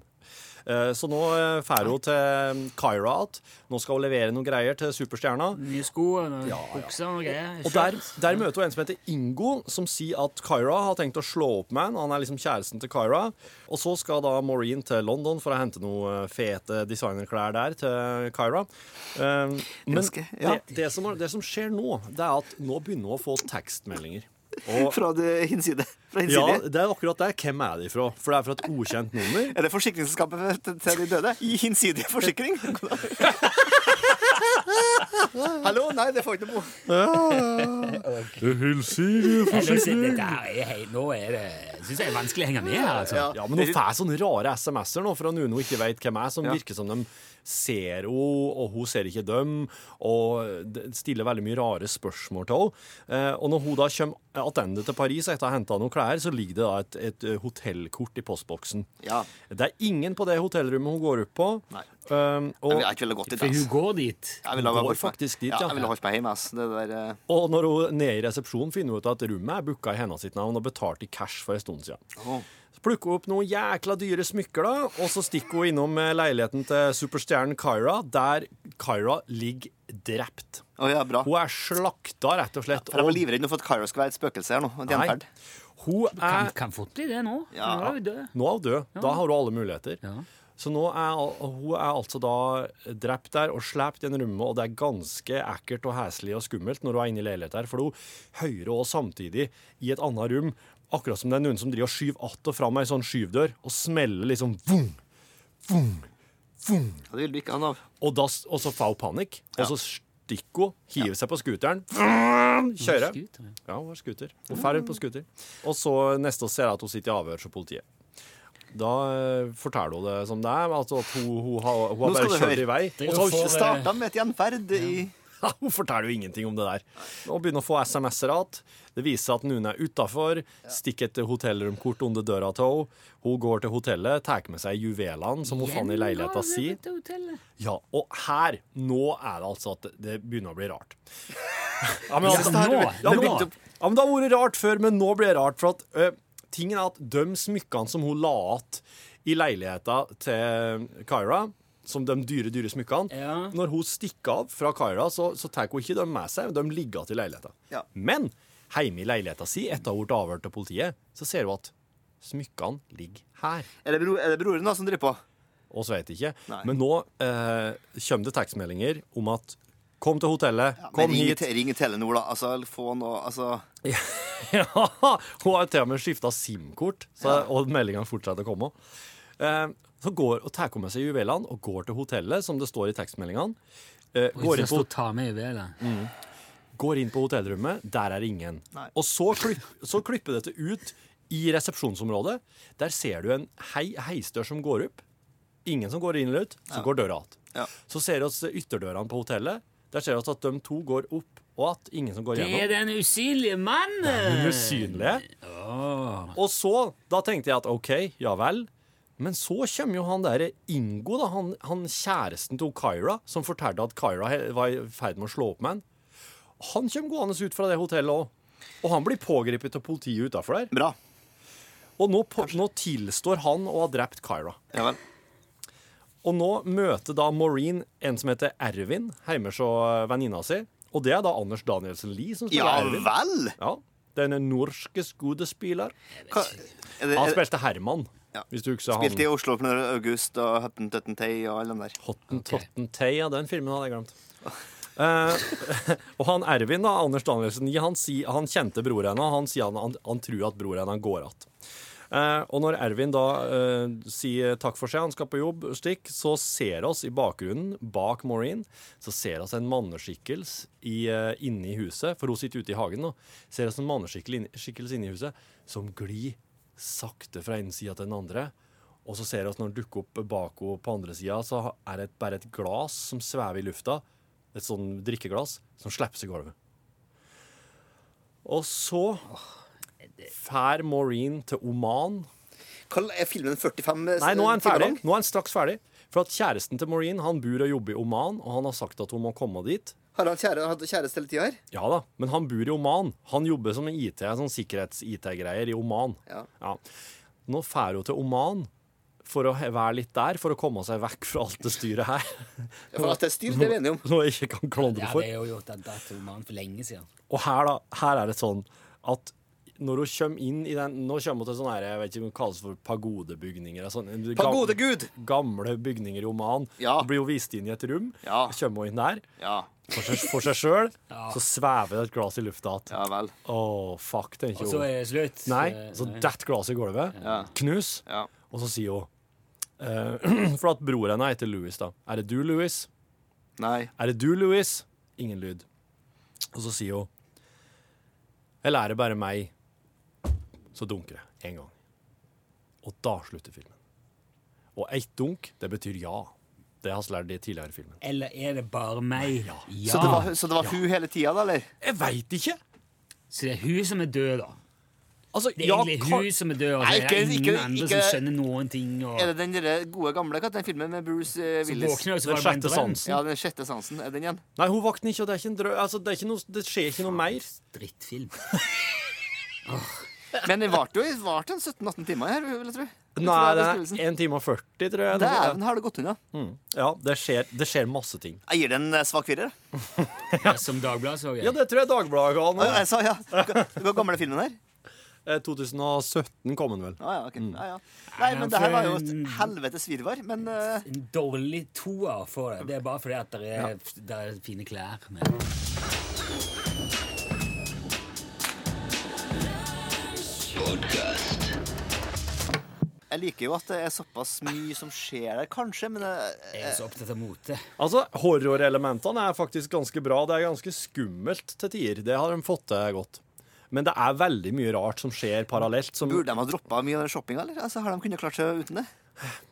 Speaker 3: Eh, Så nå eh, drar hun til Kyra igjen. Nå skal hun levere noen greier til superstjerna.
Speaker 2: Nye sko og noen bukser og greier.
Speaker 3: Og der, der møter hun en som heter Ingo, som sier at Kyra har tenkt å slå opp med han. Han er liksom kjæresten til Kyra. Og så skal da Maureen til London for å hente noen fete designerklær der til Kyra. Um, men
Speaker 6: Ganske, ja.
Speaker 3: det, det, som, det som skjer nå, det er at nå begynner hun å få tekstmeldinger. Og,
Speaker 6: Fra det hinside. Fra
Speaker 3: ja,
Speaker 6: hinside.
Speaker 3: det er akkurat det. Hvem er de fra? For det er fra et ukjent nummer.
Speaker 6: Er det forsikringsselskapet til- til de døde? I hinsidig forsikring? Hallo? Nei, det får ikke noe bo.
Speaker 3: Mm.
Speaker 2: nå er det Syns jeg er vanskelig å henge med her, altså.
Speaker 3: Ja, men hun får sånne rare SMS-er nå fra noen hun ikke vet hvem er, som
Speaker 6: Ja.
Speaker 3: virker som de ser hun, og hun ser ikke dem, og det stiller veldig mye rare spørsmål til henne. Eh, og når hun da kommer tilbake til Paris etter å ha henta noen klær, så ligger det da et, et eh, hotellkort i postboksen.
Speaker 6: Ja.
Speaker 3: Det er ingen på det hotellrommet hun går opp på.
Speaker 6: Nei.
Speaker 3: Um,
Speaker 6: Jeg
Speaker 3: og,
Speaker 6: vil ikke ville gått dit.
Speaker 2: For hun
Speaker 6: ass.
Speaker 2: går dit.
Speaker 6: Jeg ville ha
Speaker 3: Går
Speaker 6: gått meg-
Speaker 3: faktisk dit, ja.
Speaker 6: ja. Jeg ville holdt meg hjemme, ass. Det der eh,
Speaker 3: og når hun ned i resepsjonen finner hun ut at rommet er booka i hennes sitt navn og betalt i cash for en stund siden.
Speaker 6: Åh.
Speaker 3: Så plukker hun opp noen jækla dyre smykker, da, og så stikker hun innom eh, leiligheten til superstjernen Kyra, der Kyra ligger drept.
Speaker 6: Å ja, bra.
Speaker 3: Hun er slakta, rett og slett.
Speaker 6: For jeg var
Speaker 3: og-
Speaker 6: livredd nå for at Kyra skulle være et spøkelse her nå. En
Speaker 3: Nei.
Speaker 6: gjenferd.
Speaker 3: Hun
Speaker 2: Kan,
Speaker 3: er
Speaker 2: kan fort bli det nå.
Speaker 6: Ja.
Speaker 2: Hun er jo død.
Speaker 3: Nå er hun død. Da har hun alle muligheter.
Speaker 2: Ja.
Speaker 3: Så nå er al- hun er altså da drept der og slept i en rumme, og det er ganske ekkelt og heslig og skummelt når hun er inne i leilighet her, for hun hører også samtidig i et annet rom, akkurat som det er noen som driver og skyver att og fram ei sånn skyvdør, og smeller liksom vung, vung, vung.
Speaker 6: Ja, det ville du ikke ha noe av.
Speaker 3: Og, da, s- og så får hun panikk, og så stikker hun, hiver seg på skuteren, kjører.
Speaker 2: Skuter, ja.
Speaker 3: Ja, hun har scooter. Hun drar ut på scooter. Og så neste oss ser jeg at hun sitter i avhør hos politiet. Da eh, forteller hun det som det er, altså at hun, hun, har, hun
Speaker 6: Nå
Speaker 3: har
Speaker 6: skal
Speaker 3: bare
Speaker 6: du
Speaker 3: kjørt i vei.
Speaker 2: Det er jo
Speaker 3: Og så har hun
Speaker 2: for-
Speaker 3: ikke
Speaker 2: Det-
Speaker 6: Starta med et gjenferd i
Speaker 3: ja, Hun forteller jo ingenting om det der. Og begynner å få SMS-er igjen. Det viser seg at noen er utafor. Stikker et hotellromkort under døra til henne. Hun går til hotellet, tar med seg juvelene som hun fant i leiligheta si.
Speaker 2: Gjennom til hotellet.
Speaker 3: Ja, og her, nå er det altså at det begynner å bli rart. Ja, men,
Speaker 2: Ja,
Speaker 3: altså,
Speaker 2: nå,
Speaker 3: det her- ja, men-
Speaker 2: nå.
Speaker 3: ja, men det har vært rart før, men nå blir det rart. For at ø, tingen er at de smykkene som hun la att i leiligheta til Kyra, som de dyre, dyre smykkene
Speaker 2: Ja.
Speaker 3: Når hun stikker av fra Kyra, så, så tar hun ikke dem med seg, de ligger igjen i leiligheta.
Speaker 6: Ja.
Speaker 3: Men hjemme i leiligheta si, etter å ha vært avhørt av politiet, så ser hun at smykkene ligger her.
Speaker 6: Er det, bro, er det broren da som driver på?
Speaker 3: oss vet ikke.
Speaker 6: Nei.
Speaker 3: Men nå eh, kommer det tekstmeldinger om at Kom til hotellet,
Speaker 6: Ja,
Speaker 3: kom
Speaker 6: men ring,
Speaker 3: hit.
Speaker 6: te- ring Telenor, da. Altså, eller få noe altså,
Speaker 3: Ja, hun har jo til og med skifta SIM-kort, så- og meldingene fortsetter å komme. Eh, så går og tar hun med seg juvelene og går til hotellet, som det står i tekstmeldingene. Eh,
Speaker 2: Og
Speaker 3: går, Mm. inn
Speaker 2: først
Speaker 3: på,
Speaker 2: å ta med juvelet.
Speaker 3: går inn på hotellrommet, der er ingen.
Speaker 6: Nei.
Speaker 3: Og så, klipp, så klipper dette ut i resepsjonsområdet. Der ser du en hei, heisdør som går opp. Ingen som går inn eller ut, så går døra att.
Speaker 6: ja.
Speaker 3: Så ser vi oss ytterdørene på hotellet. Der ser vi oss at de to går opp og att. Ingen som går
Speaker 2: Det er
Speaker 3: gjennom.
Speaker 2: den usynlige mannen!
Speaker 3: De usynlige. Og så, da tenkte jeg at OK, ja vel. Men så kommer jo han derre Ingo, da, han, han kjæresten til Kyra, som fortalte at Kyra he- var i ferd med å slå opp med han. Han kommer gående ut fra det hotellet òg. Og han blir pågrepet av politiet utafor der.
Speaker 6: Bra.
Speaker 3: Og nå, på, nå tilstår han å ha drept Kyra.
Speaker 6: Ja vel.
Speaker 3: Og nå møter da Maureen en som heter Ervin, hjemme hos eh, venninna si. Og det er da Anders Danielsen Lie som spiller
Speaker 6: Ja
Speaker 3: Ervin.
Speaker 6: vel!
Speaker 3: Ja, Den norske skuespiller.
Speaker 6: Hva, er det,
Speaker 3: Han
Speaker 6: er,
Speaker 3: spilte Herman,
Speaker 6: Eh, Ja.
Speaker 3: hvis du husker
Speaker 6: spilte i
Speaker 3: han.
Speaker 6: Oslo på August og Hutton Tutton Tay og alle de der.
Speaker 3: Hottentotten Tay, ja, den filmen hadde jeg glemt. Eh, og han Ervin, da, Anders Danielsen Lie, han, sier- han kjente bror henne, og han sier han, han, han tror at bror henne går att. Eh, og når Ervin da eh, sier takk for seg, han skal på jobb, stikk, så ser oss i bakgrunnen, bak Maureen, så ser oss en manneskikkels i, eh, inne i huset, for hun sitter ute i hagen nå, ser oss en manneskikkels inne i huset, som glir sakte fra en sida til den andre, og så ser oss når den dukker opp bak henne på andre sida, så ha- er det et- bare et glas som svever i lufta, et sånn drikkeglass, som slipper seg i gulvet. Og så fær Maureen til Oman.
Speaker 6: Hva er filmen 45
Speaker 3: Nei, nå er han
Speaker 6: timer
Speaker 3: ferdig.
Speaker 6: lang?
Speaker 3: Nå er han straks ferdig. For at kjæresten til Maureen han bor og jobber i Oman, og han har sagt at hun må komme dit.
Speaker 6: Har han kjære, hatt kjæreste hele tida her?
Speaker 3: Ja da, men han bor i Oman. Han jobber som en IT, sånn sikkerhets-IT-greier i Oman.
Speaker 6: Ja.
Speaker 3: Nå drar hun til Oman for å he- være litt der, for å komme seg vekk fra alt det styret her.
Speaker 6: For at det er styr, det er vi enige om.
Speaker 3: Noe jeg ikke kan klondre
Speaker 2: Ja,
Speaker 3: for.
Speaker 2: det er jo gjort av datamannen for lenge siden.
Speaker 3: Og her, da, her er det sånn at når hun kommer inn i den Nå kommer hun til sånne her, jeg vet ikke om det kalles for pagodebygninger. eller Sånn, gam-
Speaker 6: Pagodegud!
Speaker 3: Gamle bygninger i Oman.
Speaker 6: Ja.
Speaker 3: Hun blir jo vist inn i et rom.
Speaker 6: Ja.
Speaker 3: Så kommer hun inn der
Speaker 6: Ja.
Speaker 3: for seg- for seg sjøl. Så svever det et glass i lufta igjen.
Speaker 6: Ja vel.
Speaker 3: Å, fuck, tenker
Speaker 2: Og så
Speaker 3: hun.
Speaker 2: er det slutt.
Speaker 3: Nei,
Speaker 2: Eh,
Speaker 3: så
Speaker 2: nei.
Speaker 3: detter glasset i gulvet. Knus.
Speaker 6: Ja.
Speaker 3: Og så sier hun eh, For at broren hennes heter Louis, da. Er det du, Louis?
Speaker 6: Nei.
Speaker 3: Er det du, Louis? Ingen lyd. Og så sier hun Eller er det bare meg? Så dunker det en gang. Og da slutter filmen. Og ett dunk, det betyr ja. det har vi lært i tidligere filmen.
Speaker 2: Eller er det bare meg? Ja.
Speaker 6: Så
Speaker 3: Ah.
Speaker 6: det var, så det var hun hele tida, da, eller?
Speaker 3: Jeg veit ikke!
Speaker 2: Så det er hun som er død, da.
Speaker 3: Altså,
Speaker 2: Det er egentlig
Speaker 3: kan-
Speaker 2: hun som er død, og så
Speaker 6: Nei,
Speaker 2: er det
Speaker 6: ikke-
Speaker 2: ingen
Speaker 6: ikke-
Speaker 2: andre
Speaker 6: ikke-
Speaker 2: som skjønner noen ting.
Speaker 3: Ah.
Speaker 2: Og...
Speaker 6: Er det den der gode gamle hva heter den filmen med Bruce eh,
Speaker 2: Så
Speaker 6: Willis?
Speaker 2: våkner hun, så var
Speaker 3: Den
Speaker 2: det bare en
Speaker 3: sjette
Speaker 2: drøm.
Speaker 3: sansen.
Speaker 6: Ja, den sjette sansen. Er den igjen?
Speaker 3: Nei, hun våkner ikke, og det er ikke en drø... Altså, det, er ikke noe, det skjer ikke noe mer.
Speaker 2: Drittfilm.
Speaker 6: Men den varte jo varte en 17-18 timer her, vil jeg tro.
Speaker 3: Nei, det er 1 time og 40, tror jeg.
Speaker 6: Dæven, har det gått unna.
Speaker 3: Ja, det skjer, det skjer masse ting.
Speaker 6: Jeg gir den en eh, svak firer. jeg.
Speaker 2: Som Dagbladet så jeg.
Speaker 3: Ja, det tror jeg Dagbladet ga nå.
Speaker 6: Jeg sa ja. Hvor gammel er filmen her?
Speaker 3: Eh, 2017 kom den vel.
Speaker 6: Ja, ja, ok. Ja, ja. Nei, men det her var jo et helvetes virvar. Men eh,
Speaker 2: En dårlig toer for det. Det er bare fordi at det er, det er fine klær. Men...
Speaker 6: jeg liker jo at det er såpass mye som skjer der, kanskje. Men eh,
Speaker 2: Jeg er så opptatt av mote.
Speaker 3: Altså, Horrorelementene er faktisk ganske bra. Det er ganske skummelt til tider. Det har de fått til godt. Men det er veldig mye rart som skjer parallelt. Som,
Speaker 6: burde de ha droppa mye av den shoppinga, eller? Altså, har de kunnet klart seg uten det?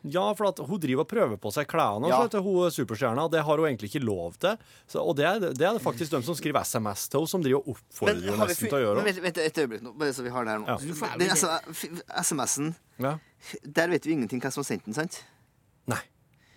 Speaker 3: ja, for at Hun driver og prøver på seg klærne
Speaker 6: Ja.
Speaker 3: ja. til hun superstjerna. Det har hun egentlig ikke lov til. Så, og det, er- det er det faktisk de som skriver SMS til henne, som driver og
Speaker 6: Men
Speaker 3: oppfordrer henne
Speaker 6: har vi
Speaker 3: nesten
Speaker 6: fun-
Speaker 3: til å gjøre
Speaker 6: Men
Speaker 3: det.
Speaker 6: Vent, vent et øyeblikk nå, bare så vi har det her nå.
Speaker 3: Ja.
Speaker 2: Du
Speaker 6: Den
Speaker 2: får ærlig-
Speaker 6: altså, f- SMS-en,
Speaker 3: Ja.
Speaker 6: der vet vi ingenting hva som har sendt den, sant?
Speaker 3: Nei.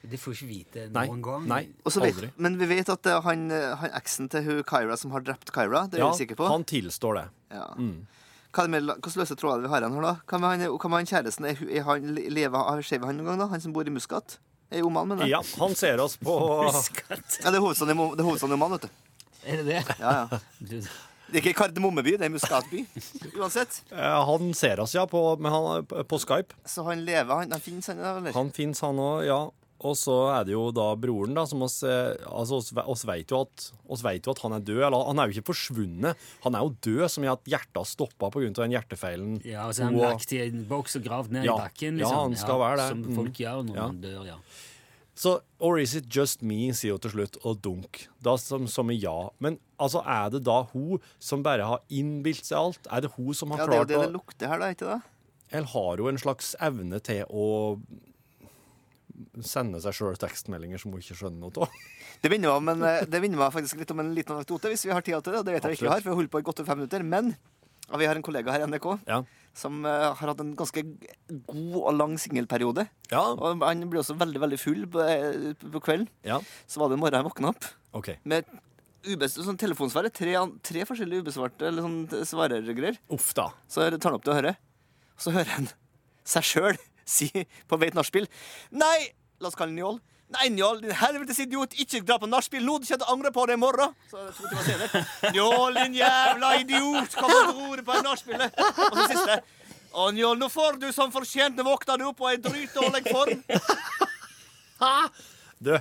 Speaker 2: Det får ikke vite
Speaker 3: Nei.
Speaker 2: noen gang.
Speaker 3: Nei.
Speaker 6: Og så
Speaker 3: Aldri.
Speaker 6: Vet, men vi vet at eh, han, eh, han eksen til hun Kyra som har drept Kyra, det er
Speaker 3: Ja,
Speaker 6: vi sikre på.
Speaker 3: han tilstår det.
Speaker 6: Ja.
Speaker 3: Mm.
Speaker 6: Hva er det med, la- hvilke løse tråder vi har igjen her, da? Hva med han, hva med han kjæresten? Er, hu- er han, lever, han- skjever han noen gang, da? Han som bor i Muskat? Er i Oman, mener jeg.
Speaker 3: Ja, han ser oss på
Speaker 2: Skatt.
Speaker 6: Ja, det er hovedstaden i Mo- det er hovedstaden i Oman, vet du.
Speaker 2: Er det det?
Speaker 6: Ja, ja.
Speaker 2: Du-
Speaker 6: Det er ikke Kardemommeby, det er Muskatby. Uansett.
Speaker 3: eh, Han ser oss, ja, på, men han, på Skype.
Speaker 6: Så han lever, han, han finnes, han, eller?
Speaker 3: Han fins, han òg, ja. Og så er det jo da broren, da, som oss eh, Altså, oss, ve- oss veit jo, at- oss vet jo at han er død. Eller han er jo ikke forsvunnet. Han er jo død, som i at hjertet stoppa pga. den hjertefeilen.
Speaker 2: Ja, og så er han
Speaker 3: Og-
Speaker 2: lagt i en boks og gravd ned
Speaker 3: Ja.
Speaker 2: i bakken.
Speaker 3: Ja,
Speaker 2: Liksom.
Speaker 3: han skal være det.
Speaker 2: Som
Speaker 3: Mm.
Speaker 2: folk gjør når
Speaker 3: Ja.
Speaker 2: man dør, ja.
Speaker 3: Så Or is it just me, sier hun til slutt, og dunk. Da som, som i ja. Men altså, er det da hun som bare har innbilt seg alt? Er det hun som har
Speaker 6: Ja, det er jo
Speaker 3: klart
Speaker 6: det
Speaker 3: å
Speaker 6: det lukter her, da, ikke det?
Speaker 3: Eller har hun en slags evne til å sende seg sjøl tekstmeldinger som hun ikke skjønner noe av?
Speaker 6: Det minner, meg om en, eh, det minner meg faktisk litt om en liten anekdote, hvis vi har tid til det. og Det vet jeg vi ikke vi har, for jeg holder på i godt over fem minutter. Men ja, vi har en kollega her i NRK
Speaker 3: Ja.
Speaker 6: som eh, har hatt en ganske g- god og lang singelperiode.
Speaker 3: ja.
Speaker 6: Og han ble også veldig, veldig full på, eh, på kvelden.
Speaker 3: Ja.
Speaker 6: Så var det en morgen jeg våkna opp
Speaker 3: OK.
Speaker 6: med ubes, sånn telefonsvarer. Tre, an- tre forskjellige ubesvarte eller sånn t- svarergreier.
Speaker 3: Uff, da.
Speaker 6: Så jeg tar han opp til å høre. Og så hører han seg sjøl si på vei til nachspiel Nei! La oss kalle han Njål. Nei, Njål, din helvetes idiot, ikke dra på nachspiel nå! Du kommer til å angre på det i morgen! Så to timer senere Njål, din jævla idiot! Hva må du rore på i nachspielet? Og så siste. Å, Njål, nå får du som fortjent. Nå våkner du opp og er i dritdårlig form.
Speaker 3: Du.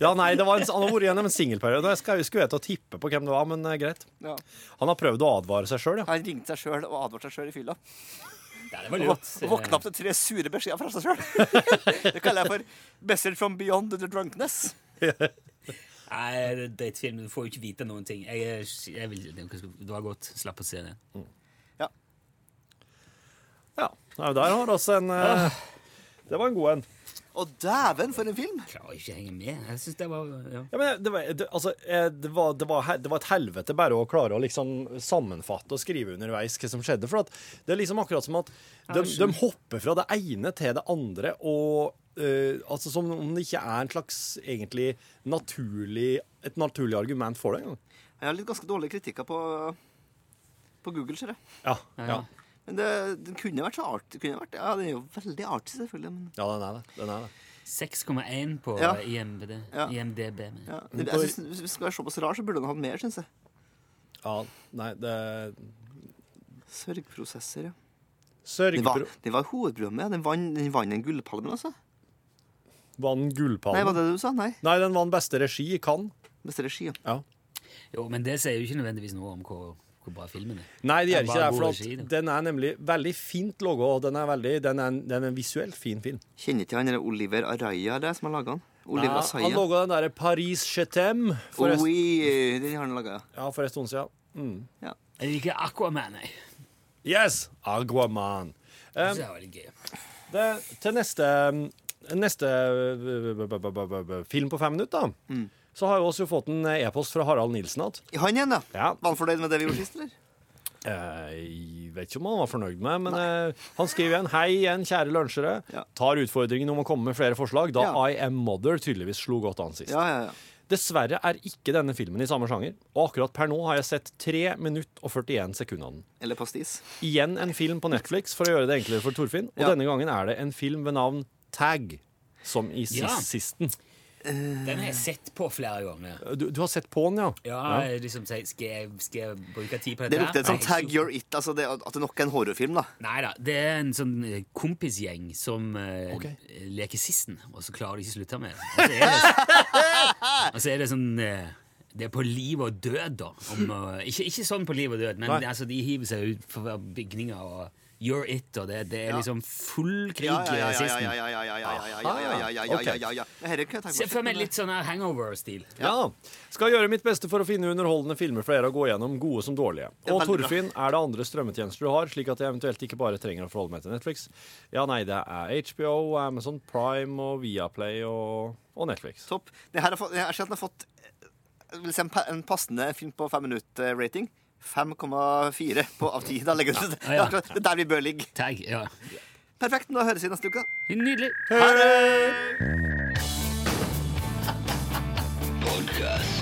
Speaker 3: Ja, nei, det var en, han har vært gjennom en singelperiode. Jeg skal- jeg skulle vite å tippe på hvem det var, men eh, greit.
Speaker 6: Ja.
Speaker 3: Han har prøvd å advare seg sjøl, ja.
Speaker 6: Han ringte seg sjøl og advarte seg sjøl i fylla.
Speaker 2: Ja, Det var
Speaker 6: Og
Speaker 2: lurt.
Speaker 6: våkna opp til tre sure beskjeder fra seg sjøl. Det kaller jeg for 'Bessel from beyond the drunkness'.
Speaker 2: Nei, det er drittfilm. Du får jo ikke vite noen ting. Jeg, er- jeg vil, det var godt. Slapp å se det.
Speaker 6: Ja.
Speaker 3: ja. Nei, der har også en eh, Det var en god en.
Speaker 6: Og dæven, for en film!
Speaker 2: Klarer ikke å henge med. Jeg synes det var ja.
Speaker 3: Ja, men det, var, det, altså, eh, det, var, det, var, he- det var et helvete bare å klare å liksom sammenfatte og skrive underveis hva som skjedde. For at det er liksom akkurat som at de, de hopper fra det ene til det andre, og eh, altså som om det ikke er en slags egentlig naturlig, et naturlig argument for det engang.
Speaker 6: Jeg har litt ganske dårlige kritikker på, på Google, ser jeg.
Speaker 3: Ja, ja.
Speaker 2: ja.
Speaker 6: Men det, den kunne vært så artig. Kunne vært, ja, den er jo veldig artig, selvfølgelig. Men,
Speaker 3: ja den er det. Den er det.
Speaker 2: 6,1 på
Speaker 6: Ja.
Speaker 2: IMBD,
Speaker 6: Ja.
Speaker 2: IMDb. men-
Speaker 6: ja. Men jeg synes, hvis vi skal være såpass rar, så burde den hatt mer, syns jeg.
Speaker 3: Ja, nei, det
Speaker 6: Sørgprosesser, ja. Den var,
Speaker 3: Sørgpro...
Speaker 6: den var hovedprogrammet. ja. Den vant den vant en gullpalme, altså.
Speaker 3: Vant
Speaker 6: Nei, var
Speaker 3: gullpallen.
Speaker 6: det det du sa? Nei.
Speaker 3: Nei, den vant beste regi i Cannes.
Speaker 6: Beste regi, ja.
Speaker 3: Ja.
Speaker 2: Jo, men det sier jo ikke nødvendigvis noe om hvor, hvor bra filmen er.
Speaker 3: Nei,
Speaker 2: Det er
Speaker 3: det gjør ikke
Speaker 2: bare
Speaker 3: det.
Speaker 2: god
Speaker 3: For
Speaker 2: regi,
Speaker 3: at
Speaker 2: det.
Speaker 3: den er nemlig veldig fint logo, og den er, veldig, den er, en, den er en visuelt fin film.
Speaker 6: Kjenner ikke han der Oliver Araya det, som har laga den? Oliver
Speaker 3: Ja, han
Speaker 6: Asaya.
Speaker 3: loga den derre Paris Chetem for, en-
Speaker 6: Oi, den har han laga, ja.
Speaker 3: ja, for en stund siden.
Speaker 2: Jeg liker Aquaman, jeg.
Speaker 3: Mm. Yes! Aguaman.
Speaker 2: Det er veldig gøy.
Speaker 3: Det, til neste neste øh, b- b- b- b- film på fem minutter, da,
Speaker 6: Mm.
Speaker 3: så har jo oss jo fått en e-post fra Harald Nilsen at
Speaker 6: Han igjen, da.
Speaker 3: Ja.
Speaker 6: Var han fornøyd med det vi gjorde sist, eller?
Speaker 3: Eh, Jeg vet ikke om han var fornøyd med, men eh, han skriver igjen Hei igjen, kjære lunsjere.
Speaker 6: Ja.
Speaker 3: Tar utfordringen om å komme med flere forslag, da
Speaker 6: Ja.
Speaker 3: I Am Mother tydeligvis slo godt an sist.
Speaker 6: Ja, ja, ja.
Speaker 3: Dessverre er ikke denne filmen i samme sjanger, og akkurat per nå har jeg sett 3 minutt og 41 sekunder av den.
Speaker 6: Eller pastis.
Speaker 3: Igjen en film på Netflix for å gjøre det enklere for Torfinn, og
Speaker 6: Ja.
Speaker 3: denne gangen er det en film ved navn Tag. Som i sist,
Speaker 2: Ja.
Speaker 3: sisten.
Speaker 2: Den har jeg sett på flere ganger.
Speaker 3: Du, du har sett på den, ja?
Speaker 2: Ja, jeg liksom sier, skal, jeg, skal jeg bruke tid på dette?
Speaker 6: Det lukter et sånt
Speaker 2: Nei, jeg-
Speaker 6: tag you're it. Altså det, at det nok er en horrorfilm, da.
Speaker 2: Nei da, det er en sånn eh, kompisgjeng som eh,
Speaker 3: Ok.
Speaker 2: leker sissen, og så klarer de ikke å slutte med det. Og så er det, og så er det sånn eh, Det er på liv og død, da. Om, å- ikke, ikke sånn på liv og død, men
Speaker 3: Nei.
Speaker 2: altså, de hiver seg ut for hver bygninger og You're it, og det, det er liksom full krig
Speaker 6: Ja, ja, ja,
Speaker 2: i
Speaker 6: ja, ja,
Speaker 2: sisten.
Speaker 6: ja, ja, ja, ja, ja, ja, ja, ja, ja, ja, ja, ja, ja. Herre, kan jeg tenke
Speaker 2: Se for meg
Speaker 6: meg-
Speaker 2: litt sånn her hangover-stil.
Speaker 3: Ja. Skal gjøre mitt beste for å finne underholdende filmer for dere og gå gjennom gode som dårlige.
Speaker 6: Det er
Speaker 3: Og
Speaker 6: veldig bra.
Speaker 3: Torfinn, er det andre strømmetjenester du har, slik at jeg eventuelt ikke bare trenger å forholde meg til Netflix? Ja, nei, det er HBO, Amazon Prime og Viaplay og, og Netflix.
Speaker 6: Topp. Det her har fått, jeg har sjelden har fått eh, vil si, en, pa- en passende film på fem eh, minutt-rating. 5,4 på av 10. Da legger vi det.
Speaker 2: Ja, ja.
Speaker 6: Det er akkurat der vi bør ligge.
Speaker 2: Tag, ja.
Speaker 6: Perfekt. Da høres vi neste uke. da.
Speaker 2: Nydelig.
Speaker 3: Ha det!
Speaker 7: Podcast.